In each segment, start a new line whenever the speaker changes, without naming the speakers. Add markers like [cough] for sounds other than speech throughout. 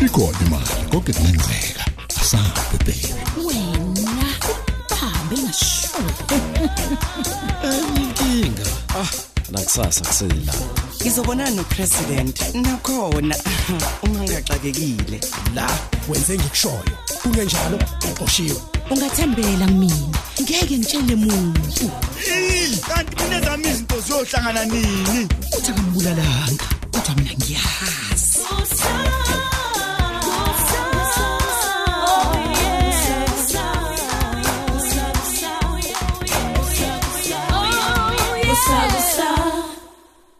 ikhona imali konke kungenzeka asabe baby
wena bahambe ngashuwa
inkinga ah nakusasa kusela
ngizobonana nopresident nakhona [laughs] uma ngingaxakekile
la wenze ngikushoyo kungenjalo uqoshiwe
ungathembela mina ngeke ngitshele muntu
kanti mina zami izinto ziyohlangana nini
uthi akambulalanga kodwa mina ngiyazi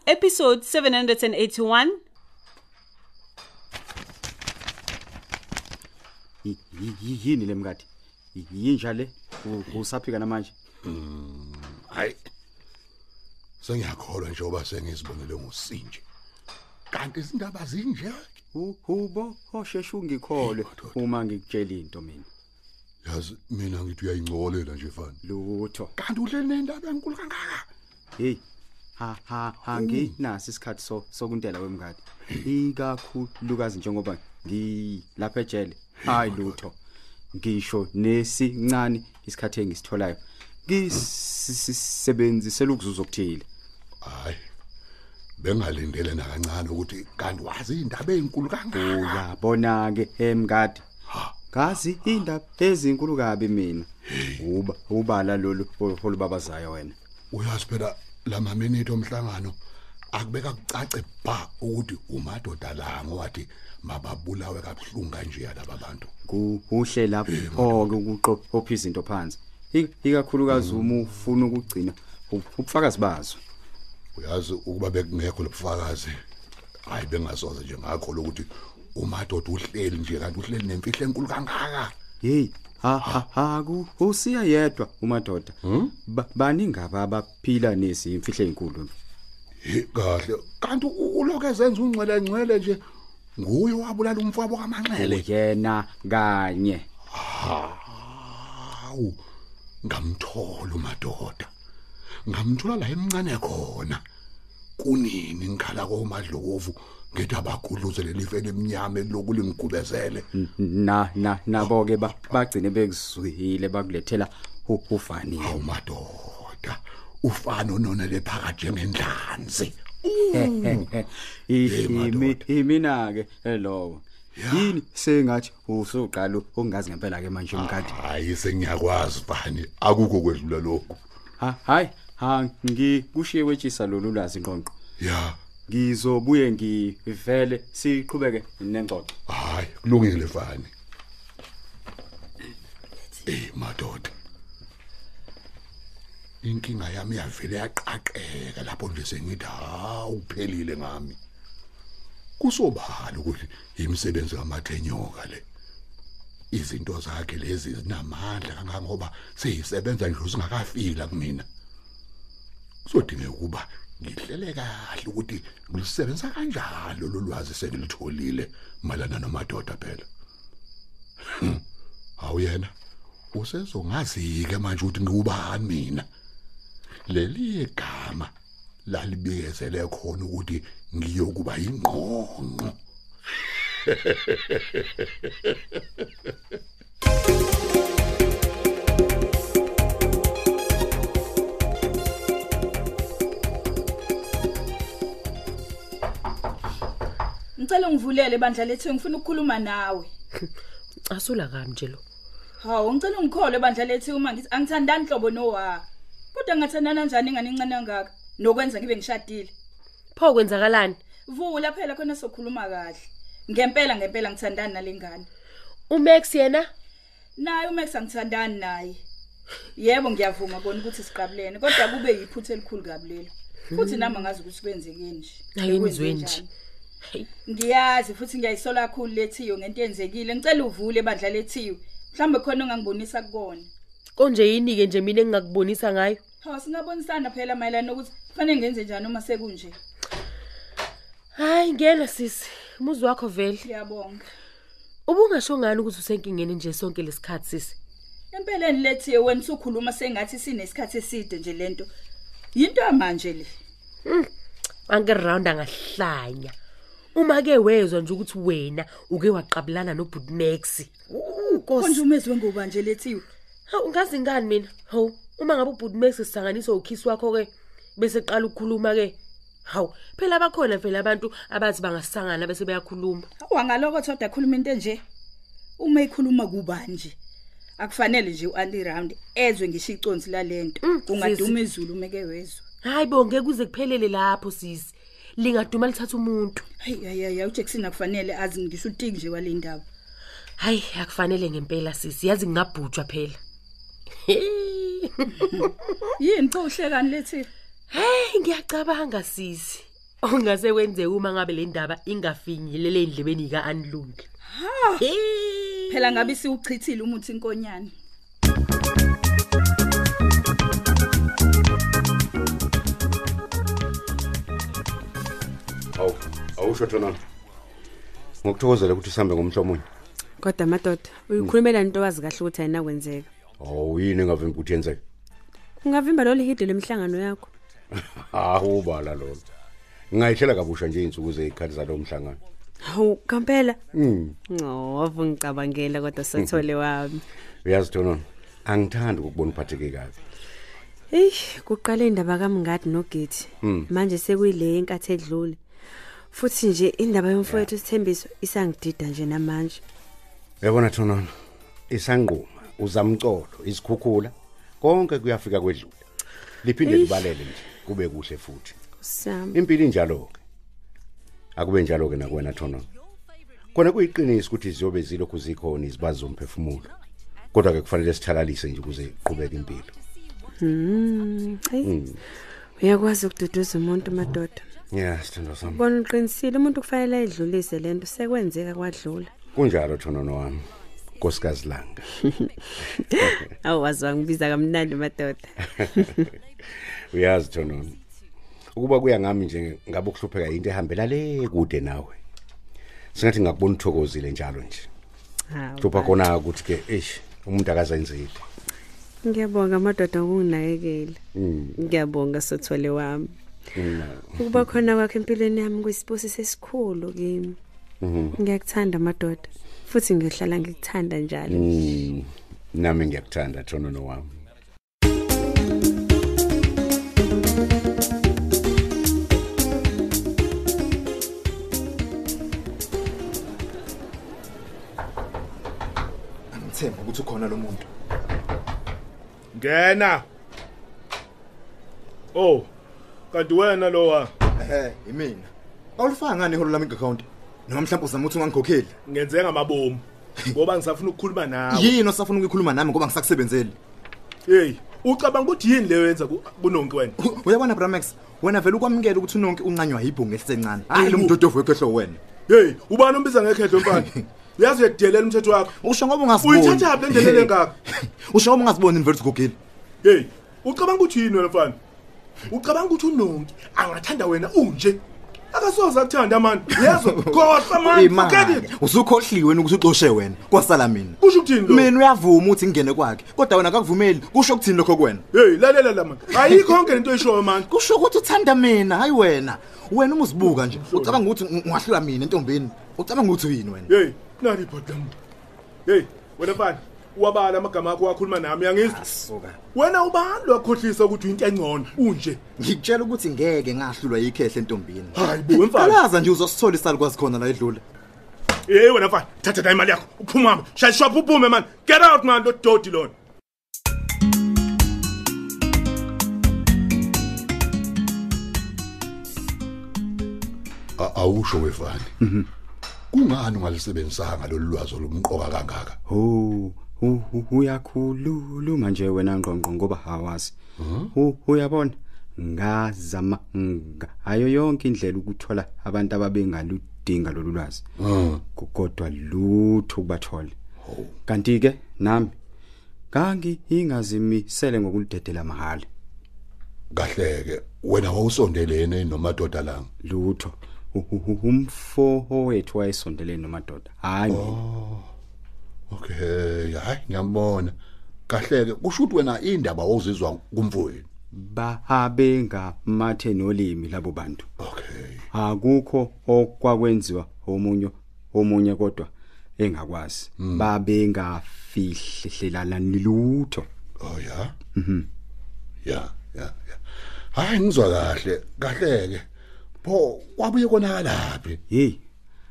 Episode 781
Y- y- y- yini le mkade Y- yinja le U- usaphika namanje
Mm, hayi sengiyakholwa njengoba sengizibonele ngusinje kanti izindaba zinje
U- ubo osheshe ungikholwe uma ngikutshela into mina
yazi mina ngithi uyayingcolela nje fana
lutho
kanti udle nendaba enkulu kangaka
hey ha ha
Mm.
anginasi isikhathi so sokuntela kwemngadi ikakhulukazi njengoba ngilapha ejele hayi lutho ngisho nesincane isikhathi engisitholayo ngisebenzisela ukuzuza okuthile
hayi bengalindele nakancane ukuthi kanti wazi indaba enkulu kangaka
uyabona ke emngadi ngazi indaba ezinkulu kabi mina uba ubala lolu olubabazayo wena
uyazi phela lamaminithi omhlangano akubeka kucace ba ukuthi umadoda la ngowathi mababulawe kabuhlungu kanje yalaba bantu
kuhle lapho ke ukuqopha izinto phansi I- ikakhulukazi uma ufuna ukugcina u- ubufakazi bazo
uyazi ukuba bekungekho lobufakazi hayi bengasoze nje ngakho lokuthi umadoda uhleli nje kanti uhleli nemfihlo enkulu kangaka
hey ha ha ha ku- usiya yedwa umadoda Ba- baningaba abaphila nezimfihlo ezinkulu
He, kahle kanti u- ulokhu ezenza ungcwele ngcwele nje nguye wabulala umfabo kamanxele
yena kanye
awu ngamthola umadoda ngamthola la emncane khona kunini ngikhala komadlovu ngithi abagudluze lelife elimnyama lokulingigubezele
na na nabo ke ba- bagcine bekuzwile bakulethela u- ufanile
awumadoda ufana ononele phakathi ngendlanzi
Imi- imina ke lowo yini sengathi usuqala ungazi ngempela ke manje umkade
hayi sengiyakwazi fani akukho kwedlula lokhu
Ha- hayi ha ngikushiye wetshisa lolu lwazi nqonqo
ya
ngizobuye ngivele siqhubeke nengxoxo
hayi kulungile fani eh madoda inkinga yami yavele yaqaqeka lapho nje sengithi hawu kuphelile ngami kusobhala ukuthi imisebenzi kamathenyoka le izinto zakhe lezi zinamandla kangangoba seyisebenza nje usingakafiki la kumina kusodingeka ukuba ngihlele kahle ukuthi ngilusebenzisa kanjalo lolwazi sengilitholile malana nomadoda phela Hmm, hawu yena usezongazike manje ukuthi ngiwubani mina leli igama lalibikezele khona ukuthi ngiyokuba ingqonqo
Ngicela ungivulele bandla lethu ngifuna ukukhuluma nawe.
asula kami nje lo
Hawu ngicela ungikhole bandla lethu uma ngithi angithandani hlobo nowa. Kodwa ngathandana njani ngane incane kangaka? Nokwenza ngibe ngishadile.
pho kwenzakalani
Vula phela khona sokhuluma kahle. Ngempela ngempela ngithandani nalengane.
umax yena
Naye uMax angithandani naye. Yebo ngiyavuma kona ukuthi siqabulene kodwa kube yiphutha elikhulu kabi lelo. Futhi nami angazi ukuthi kwenzeke nje.
Ayenziwe nje.
Hey. Ngiyazi futhi ngiyayisola kakhulu lethiyo ngento yenzekile. Ngicela uvule bandla lethiyo. Mhlambe khona ongangibonisa kukona.
konje yini-ke nje mina engingakubonisa ngayo
Hawu singabonisana phela mayelana ukuthi kufanele ngenze njani uma sekunje.
hhayi ngena sisi umuzi wakho vele
Ngiyabonga.
ubungasho ngani ukuthi usenkingeni nje sonke lesikhathi sisi
Empeleni lethiyo wena usukhuluma sengathi sinesikhathi eside nje lento. Yinto yamanje le.
Hmm, anke round angahlanya uma-ke wezwa nje ukuthi wena uke waqabulana nobhut max
konje umezwe ngoba nje lethiwe
hawu ngazi ngani mina hawu uma ngabe ubhut max sisanganiswa ukhisi wakho-ke bese qala ukukhuluma-ke hawu phela bakhona phela abantu abathi bangasangana bese beyakhuluma
awangaloko thoda akhuluma into enje uma ikhuluma kuba nje akufanele nje u-anti round ezwe ngisho iconsi lalento
Mm,
kungaduma
sisi.
izulu umeke wezwe
hhayi bo ngeke kuze kuphelele lapho sisi lingaduma lithatha umuntu
hayi hayi hayi ujackson akufanele azi ngisho utiki nje wale ndaba
hhayi akufanele ngempela sisi yazi ngingabhutshwa
[laughs]
phela
yini xa uhlekani lethiwe
heyi ngiyacabanga sisi ongase kwenzeka uma ngabe le ndaba ingafinyelele endlebeni yika-anilungi
phela ngabe siwuchithile umuthi inkonyane
awu awusho tonana ngokuthokozela ukuthi sihambe ngomhlomunye
kodwa madoda uyikhulumela into owazi kahle ukuthi ayinakwenzeka
awu yini engavimba ukuthi yenzeke
ungavimba lolu hidi lemihlangano yakho
hawu ubala lolo ngingayihlela kabusha nje iy'nsuku zey'khathi zalowo mhlangano
hawu kampela
Mm.
ncovo ngicabangela kodwa sathole wami
uyazi tonona angithandi ukukubona uphatheke kabi
eyi kuqale indaba kamngadi nogeti
Mm.
manje sekuyile yenkathi edlule futhi nje indaba yomfowethu sithembiso isangidida nje namanje
uyabona tonona isanquma uzamcolo isikhukhula konke kuyafika kwedlule liphinde
Eish.
libalele nje kube kuhle futhi
sam
impilo injalo-ke akube njalo-ke nakuwena tonona khona kuyiqiniso ukuthi ziyobe zilokhu zikhona izibazi zomphefumulo kodwa-ke kufanele sithalalise nje ukuze qhubeke impilo
Mm, eyi,
Mm.
uyakwazi ukududuza umuntu madoda
ya sithandwa sami
bona uqinisile umuntu kufanele ayidlulise le nto sekwenzeka kwadlula
kunjalo thonono wami nkosikazi langa
awu wazi wangibiza kamnandi madoda
uyazi thonono ukuba kuya ngami nje ngabe ukuhlupheka yinto ehambela le kude nawe singathi ngakubona uthokozile njalo nje
Hawu,
hlupha
ba-
khona ukuthi-ke eish umuntu akazenzile
ngiyabonga madoda ngokunginakekela
Mm,
ngiyabonga sothole wami ukuba khona kwakho empilweni yami kuyisibusi sesikhulu kimi ngiyakuthanda madoda futhi ngiyohlala ngikuthanda njalo
Mm. nami ngiyakuthanda thonono wami
Ngithemba ukuthi ukhona lo muntu. Ngena.
Oh, kanti wena lowa.
Eh, yimina. Awulifaka ngani iholo lami account? Noma mhlawumbe uzama ukuthi ungangikhokheli? [laughs]
Ngenze ngamabomu ngoba ngisafuna ukukhuluma nawe.
Yini osafuna ukuyikhuluma nami ngoba ngisakusebenzeli?
Hey, ucabanga ukuthi yini leyo yenza ku- kunonke wena?
Uyabona Bramax, wena vele ukwamukela ukuthi unonke unqanywa yibhunga elisencane. Hayi lo
Ayibo.
mdodovu wekhehlo wena.
Hey, ubani ombiza ngekhehlo mfana? Uyazi uyadelela umthetho wakho.
Usho ngoba ungasiboni.
Uyithatha phi le ndelele engaka?
Usho ngoba ungaziboni vele ugugile.
Hey, ucabanga ukuthi yini wena mfana? Ucabanga ukuthi unonke angathanda wena unje? Akasoze akuthanda mani.
[laughs]
Yezwa, khohlwa mani. Forget it.
Imali. Usukhohliwe wena ukuthi uxoshe wena. Kwasala mina.
Kusho ukuthini lo?
Mina uyavuma ukuthi ngingene kwakhe, kodwa wena akakuvumeli. Kusho ukuthini lokho kuwena?
Hey, lalela la mani. Ayikho konke lento oyishoyo mani.
Kusho ukuthi uthanda mina, hayi wena. Wena uma usibuka nje, ucabanga ukuthi ng- ungahlula mina entombini. Ucabanga ukuthi uyini wena?
Hey, nani ibhodi lami. Hey, wena mfana, uwabala amagama akho wakhuluma nami yangizwa.
Suka.
Wena ubani wakhohlisa ukuthi uyinto engcono unje?
Ngikutshela ukuthi ngeke ngahlulwa yikhehle entombini.
Hayi bo mfana.
Kalaza nje uzosithola isalukwazi khona la edlule.
Hey wena mfana, thatha la imali yakho. Uphuma manje. Shaya shwa uphume man. Get out man, lo dodi lona.
A- awusho
Mhm.
wefani kungani ungalisebenzisanga lolu lwazi olumqoka kangaka
ho ho- ho- uyakhululuma nje wena ngqongqo ngoba awazi Ho- uyabona ngazama ngayo yonke indlela ukuthola abantu ababengaludinga lolu lwazi
Mm.
Ku- kodwa lutho kubathole kanti-ke nami kangiingazimisele ngokuludedela mahhala
kahleke wena wawusondelene nomadoda langa
lutho U- u- u- umfo wethu wayesondelene nomadoda hhayi
Oh.
mina.
okay hayi ngiyambona kahleke kusho ukuthi wena indaba wawuzizwa kumfowenu
babengamatheni olimi labo bantu
okay
akukho okwakwenziwa omunye omunye kodwa engakwazi
Hmm.
babengafihlelana lutho
oh ya mhm ya ya ya hayi ngizwa kahle kahle ke pho kwabuye konakalaphi
hey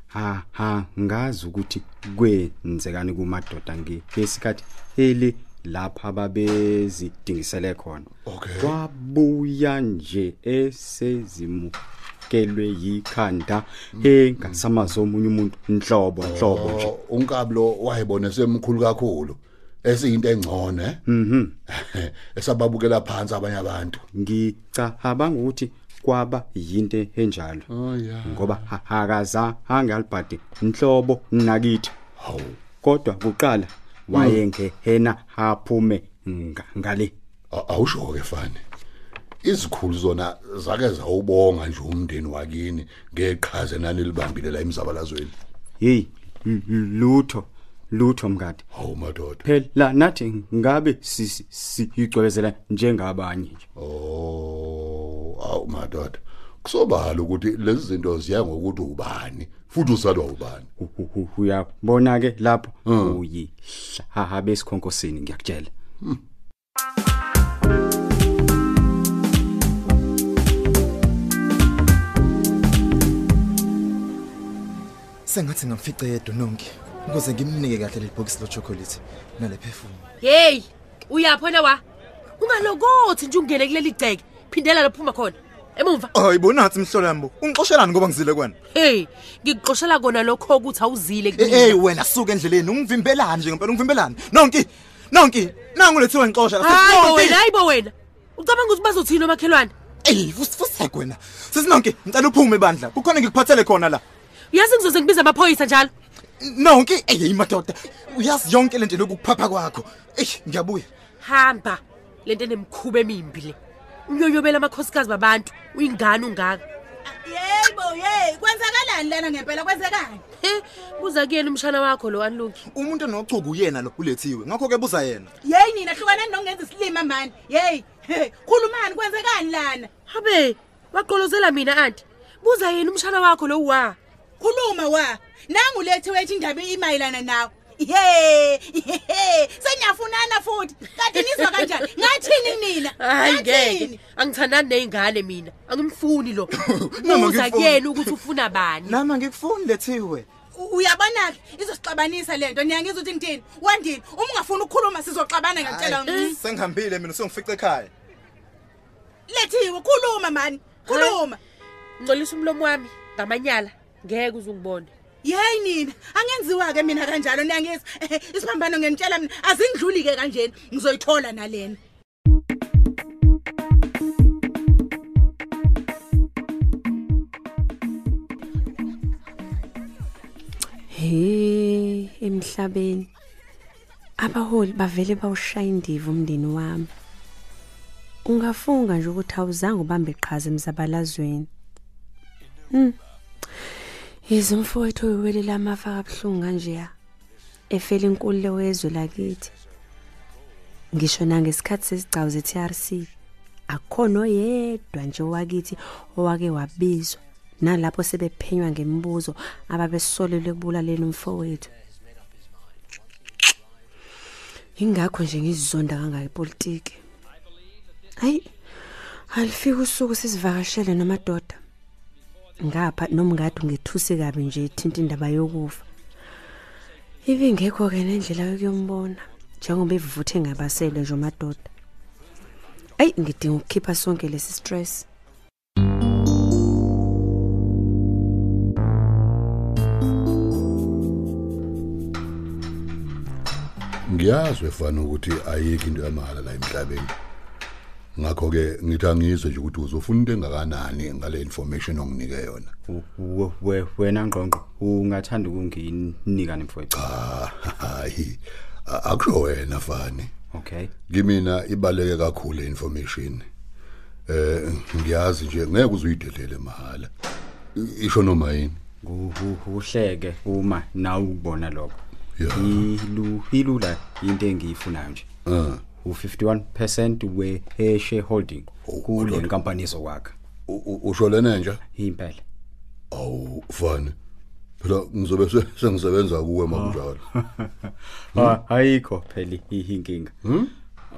ha ha ngazi ukuthi kwenzekani kumadoda ngesikhathi eli lapha babezidingisele khona kwabuya nje esezimukelwe yikhanda engasamazi omunye umuntu nhlobo nhlobo nje
Oh, unkabi lo wayebone semkhulu kakhulu esiyinto engcono eh
mhm
[laughs] esababukela phansi abanye abantu
ngicabanga ukuthi kwaba yinto enjalo
Oh, ya.
ngoba hakaza angalibhadi inhlobo nakithi kodwa kuqala wayenge
Mm.
hena aphume nga- ngale
awusho ke fani izikhulu zona zake zawubonga nje umndeni wakini ngeqhaza nanilibambile la emzabalazweni
hey lutho lutho mngadi
hawu Oh, madoda
phela nathi ngabe si- si- siyigcwebezela njengabanye nje
oh awu madoda kusobala ukuthi lezi zinto ziya ngokuthi ubani futhi usalwa ubani
uyabona ke lapho
Mm.
uyihlaha besikhonkosini ngiyakutshela
sengathi ngamfice yedwa nonke ukuze ngimnike kahle leli bhokisi lochocolate nale perfume
Hey, uyaphona wa? Ungalokothi nje ungene kuleli gceke. Phindela laphuma khona. Emumva.
hayi bonathi mhlolambo ungixoshelani ngoba ngizile kwena
Hey, ngikuxoshela kona lokho ukuthi awuzile
Eh, hey wena suka endleleni ungivimbelani nje ngempela ungivimbelani nonki nonki nangu lethiwe ngixosha
Hayibo
eh.
wena, hayibo wena. Ucabanga ukuthi bazothina omakhelwane?
Ey, fusifusa kwena. Sisinonke, ngicela uphume bandla. Kukhona ngikuphathele khona la.
Uyazi ngizoze ngibize amaphoyisa njalo.
Nonke, ey madoda, uyazi yonke lento lokuphapha kwakho. Ey, ngiyabuya.
Hamba. Lento enemkhuba emimbi le. Uyoyobela amakhosikazi babantu, uyingane ungaka.
Yebo, hey, kwenzakalani lana ngempela kwenzekani?
Buza kuyena umshana wakho lo anluki.
Umuntu nochuku uyena lo ulethiwe. Ngakho ke buza yena.
Hey nina hlukanani nokungenza isilima mani. Hey, hey, khulumani kwenzekani lana?
Habe, waqolozela mina anti. Buza yena umshana wakho lo wa.
Khuluma wa. Nangu lethe wethu indaba imayilana nawe. Hey, hey, senyafunana futhi. Kanti nizwa kanjani? Ngathini nina?
Hayi
Ngathini?
ngeke, angithandani nezingane mina. Angimfuni lo.
[coughs] Noma
Buza
ngikufuni.
kuyena ukuthi ufuna bani.
Nama ngikufuni lethiwe.
U- uyabona ke izosixabanisa lento niyangizwa ukuthi ngithini wandini uma ungafuna ukukhuluma sizoxabana ngiyakutshela
Hayi,
wena.
Sengihambile mina sengifice ekhaya.
lethiwe khuluma mani khuluma
Ngcolisa umlomo wami ngamanyala. Ngeke uzungibone.
yeyi nina angenziwa-ke mina kanjalo niyangizwa Ehe, isiphambano ngenitshela mina azindluli-ke kanjena ngizoyithola nalena
he emhlabeni abaholi bavele bawushaya indiva umndeni wami ungafunga nje ukuthi awuzange ubambe iqhaza emzabalazweni hm yize umfowethu uyiwelela amafa kabuhlungu kanjeya efela inkululeko yezwe lakithi ngisho nangesikhathi sesigcawu ze-trc akukhona oyedwa nje owakithi owake wabizwa nalapho sebephenywa ngemibuzo ababesolelwe ekubulaleni umfowethu yingakho nje ngizizonda kangaka ipolitiki hayi alifika usuku sizivakashele namadoda ngapha nomngadi ungethusi kabi nje ithinta indaba yokufa ibingekho-ke nendlela yokuyombona njengoba ivuthe ngabaselwe nje umadoda ayi ngidinga ukukhipha sonke lesi stress
ngiyazwe fana ukuthi ayikho into yamahala la emhlabeni ngakho ke ngithi angizwe nje ukuthi uzofuna into engakanani ngale information onginike yona
We- we- wena ngqongqo ungathanda ukunginika nemfowethu
cha hayi a- akusho wena fani
okay
kimina ibaleke kakhulu le information eh ngiyazi nje ngeke uzuyidelele mahala I- isho noma yini
uhleke uma nawe ukubona lokho Ilu- ilula into engiyifunayo nje
Ah.
u-51%
Oh,
we-shareholding kule nkampani ezokwakha
U- u- usho lena nje
impela
awu fani phela ngizobe se- sengisebenza kuwe makunjalo
Oh. [laughs] Ah, ayikho phela i- inkinga
Hmm?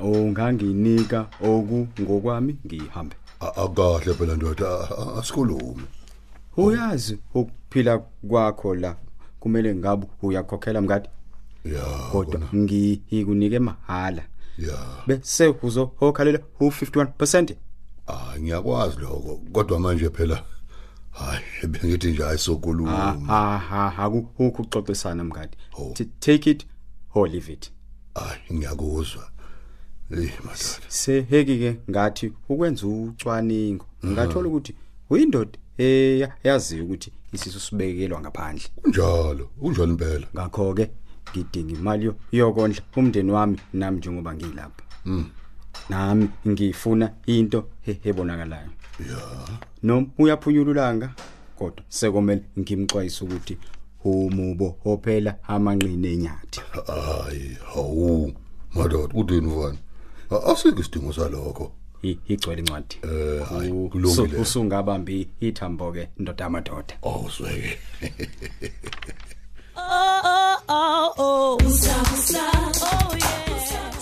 unganginika oku ngokwami ngihambe
akahle phela ndoda asikhulume
uyazi ukuphila kwakho la kumele ngabe uyakhokhela mngadi
ya
kodwa ngiyikunike mahala
ya
bese uzohokhalela u51%
hayi ngiyakwazi lokho kodwa manje phela hayi bengithi nje ayisokhuluma
ha ha akukho ukuxoxisana mngadi T- take it or leave it
hayi ngiyakuzwa Eh madoda
seheki ke ngathi ukwenza ucwaningo ngathola ukuthi uyindoda eyaziyo ukuthi isisu sibekelwa ngaphandle
kunjalo kunjalo impela
ngakho ke ngidinga imali yo- yokondla umndeni wami nami njengoba ngilapha
Mm.
nami ngifuna into he- ebonakalayo
ya
noma uyaphunyululanga kodwa sekomele ngimxwayise ukuthi umubo ophela amanqine enyathi
hayi hawu madoda udini vani asikho isidingo salokho
igcwele incwadi
eh hayi
U-
kulungile
usu- usungabambi ithambo ke ndoda amadoda
[laughs] awuzweke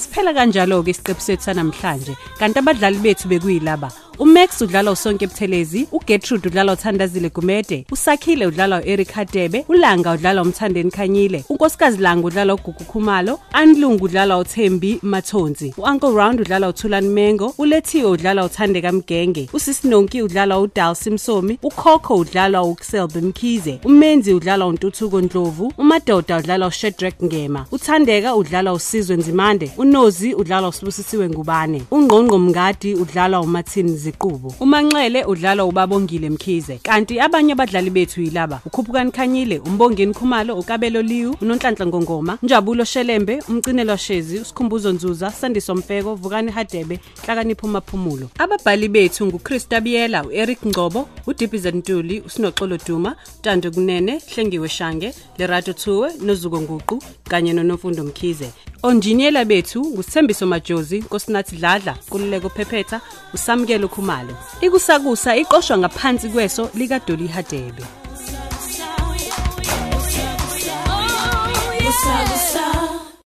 siphela kanjalo-ke isiqephu sethu sanamhlanje kanti abadlali bethu bekuyilaba umax udlalwa usonke ebuthelezi ugertrude udlalwa uthandazile gumede usakhile udlalwa u-eric hadebe ulanga udlalwa umthandeni khanyile unkosikazi langa udlalwa ugugu khumalo anlungu udlalwa uthembi mathonzi u-uncle round udlalwa uthulani mengo ulethiwe udlalwa uthandeka mgenge usisinonki udlalwa udalsi msomi ukhokho udlalwa ukuselbe mkhize umenzi udlalwa untuthuko ndlovu umadoda udlalwa ushedrak ngema uthandeka udlalwa usizwe nzimande unozi udlalwa usibusisiwe ngubane ungqongqo mngadi udlalwa umathini ziqubo umanxele udlalwa ubabongile mkhize kanti abanye abadlali bethu yilaba ukhuphukani khanyile umbongeni khumalo ukabelo liwu unonhlanhla ngongoma njabulo shelembe umcinelwa shezi usikhumbuzo nzuza sandiso mfeko vukani hadebe hlakanipho maphumulo ababhali bethu ngukrista biyela u-eric ngcobo udibhize ntuli usinoxolo duma tando kunene hlengiwe shange lerato thuwe nozuko nguqu kanye nonofundo mkhize onjiniyela bethu ngusithembiso majozi nkosinathi dladla kululeko phephetha usamukelo khumalo ikusakusa iqoshwa ngaphansi kweso likadoli hadebe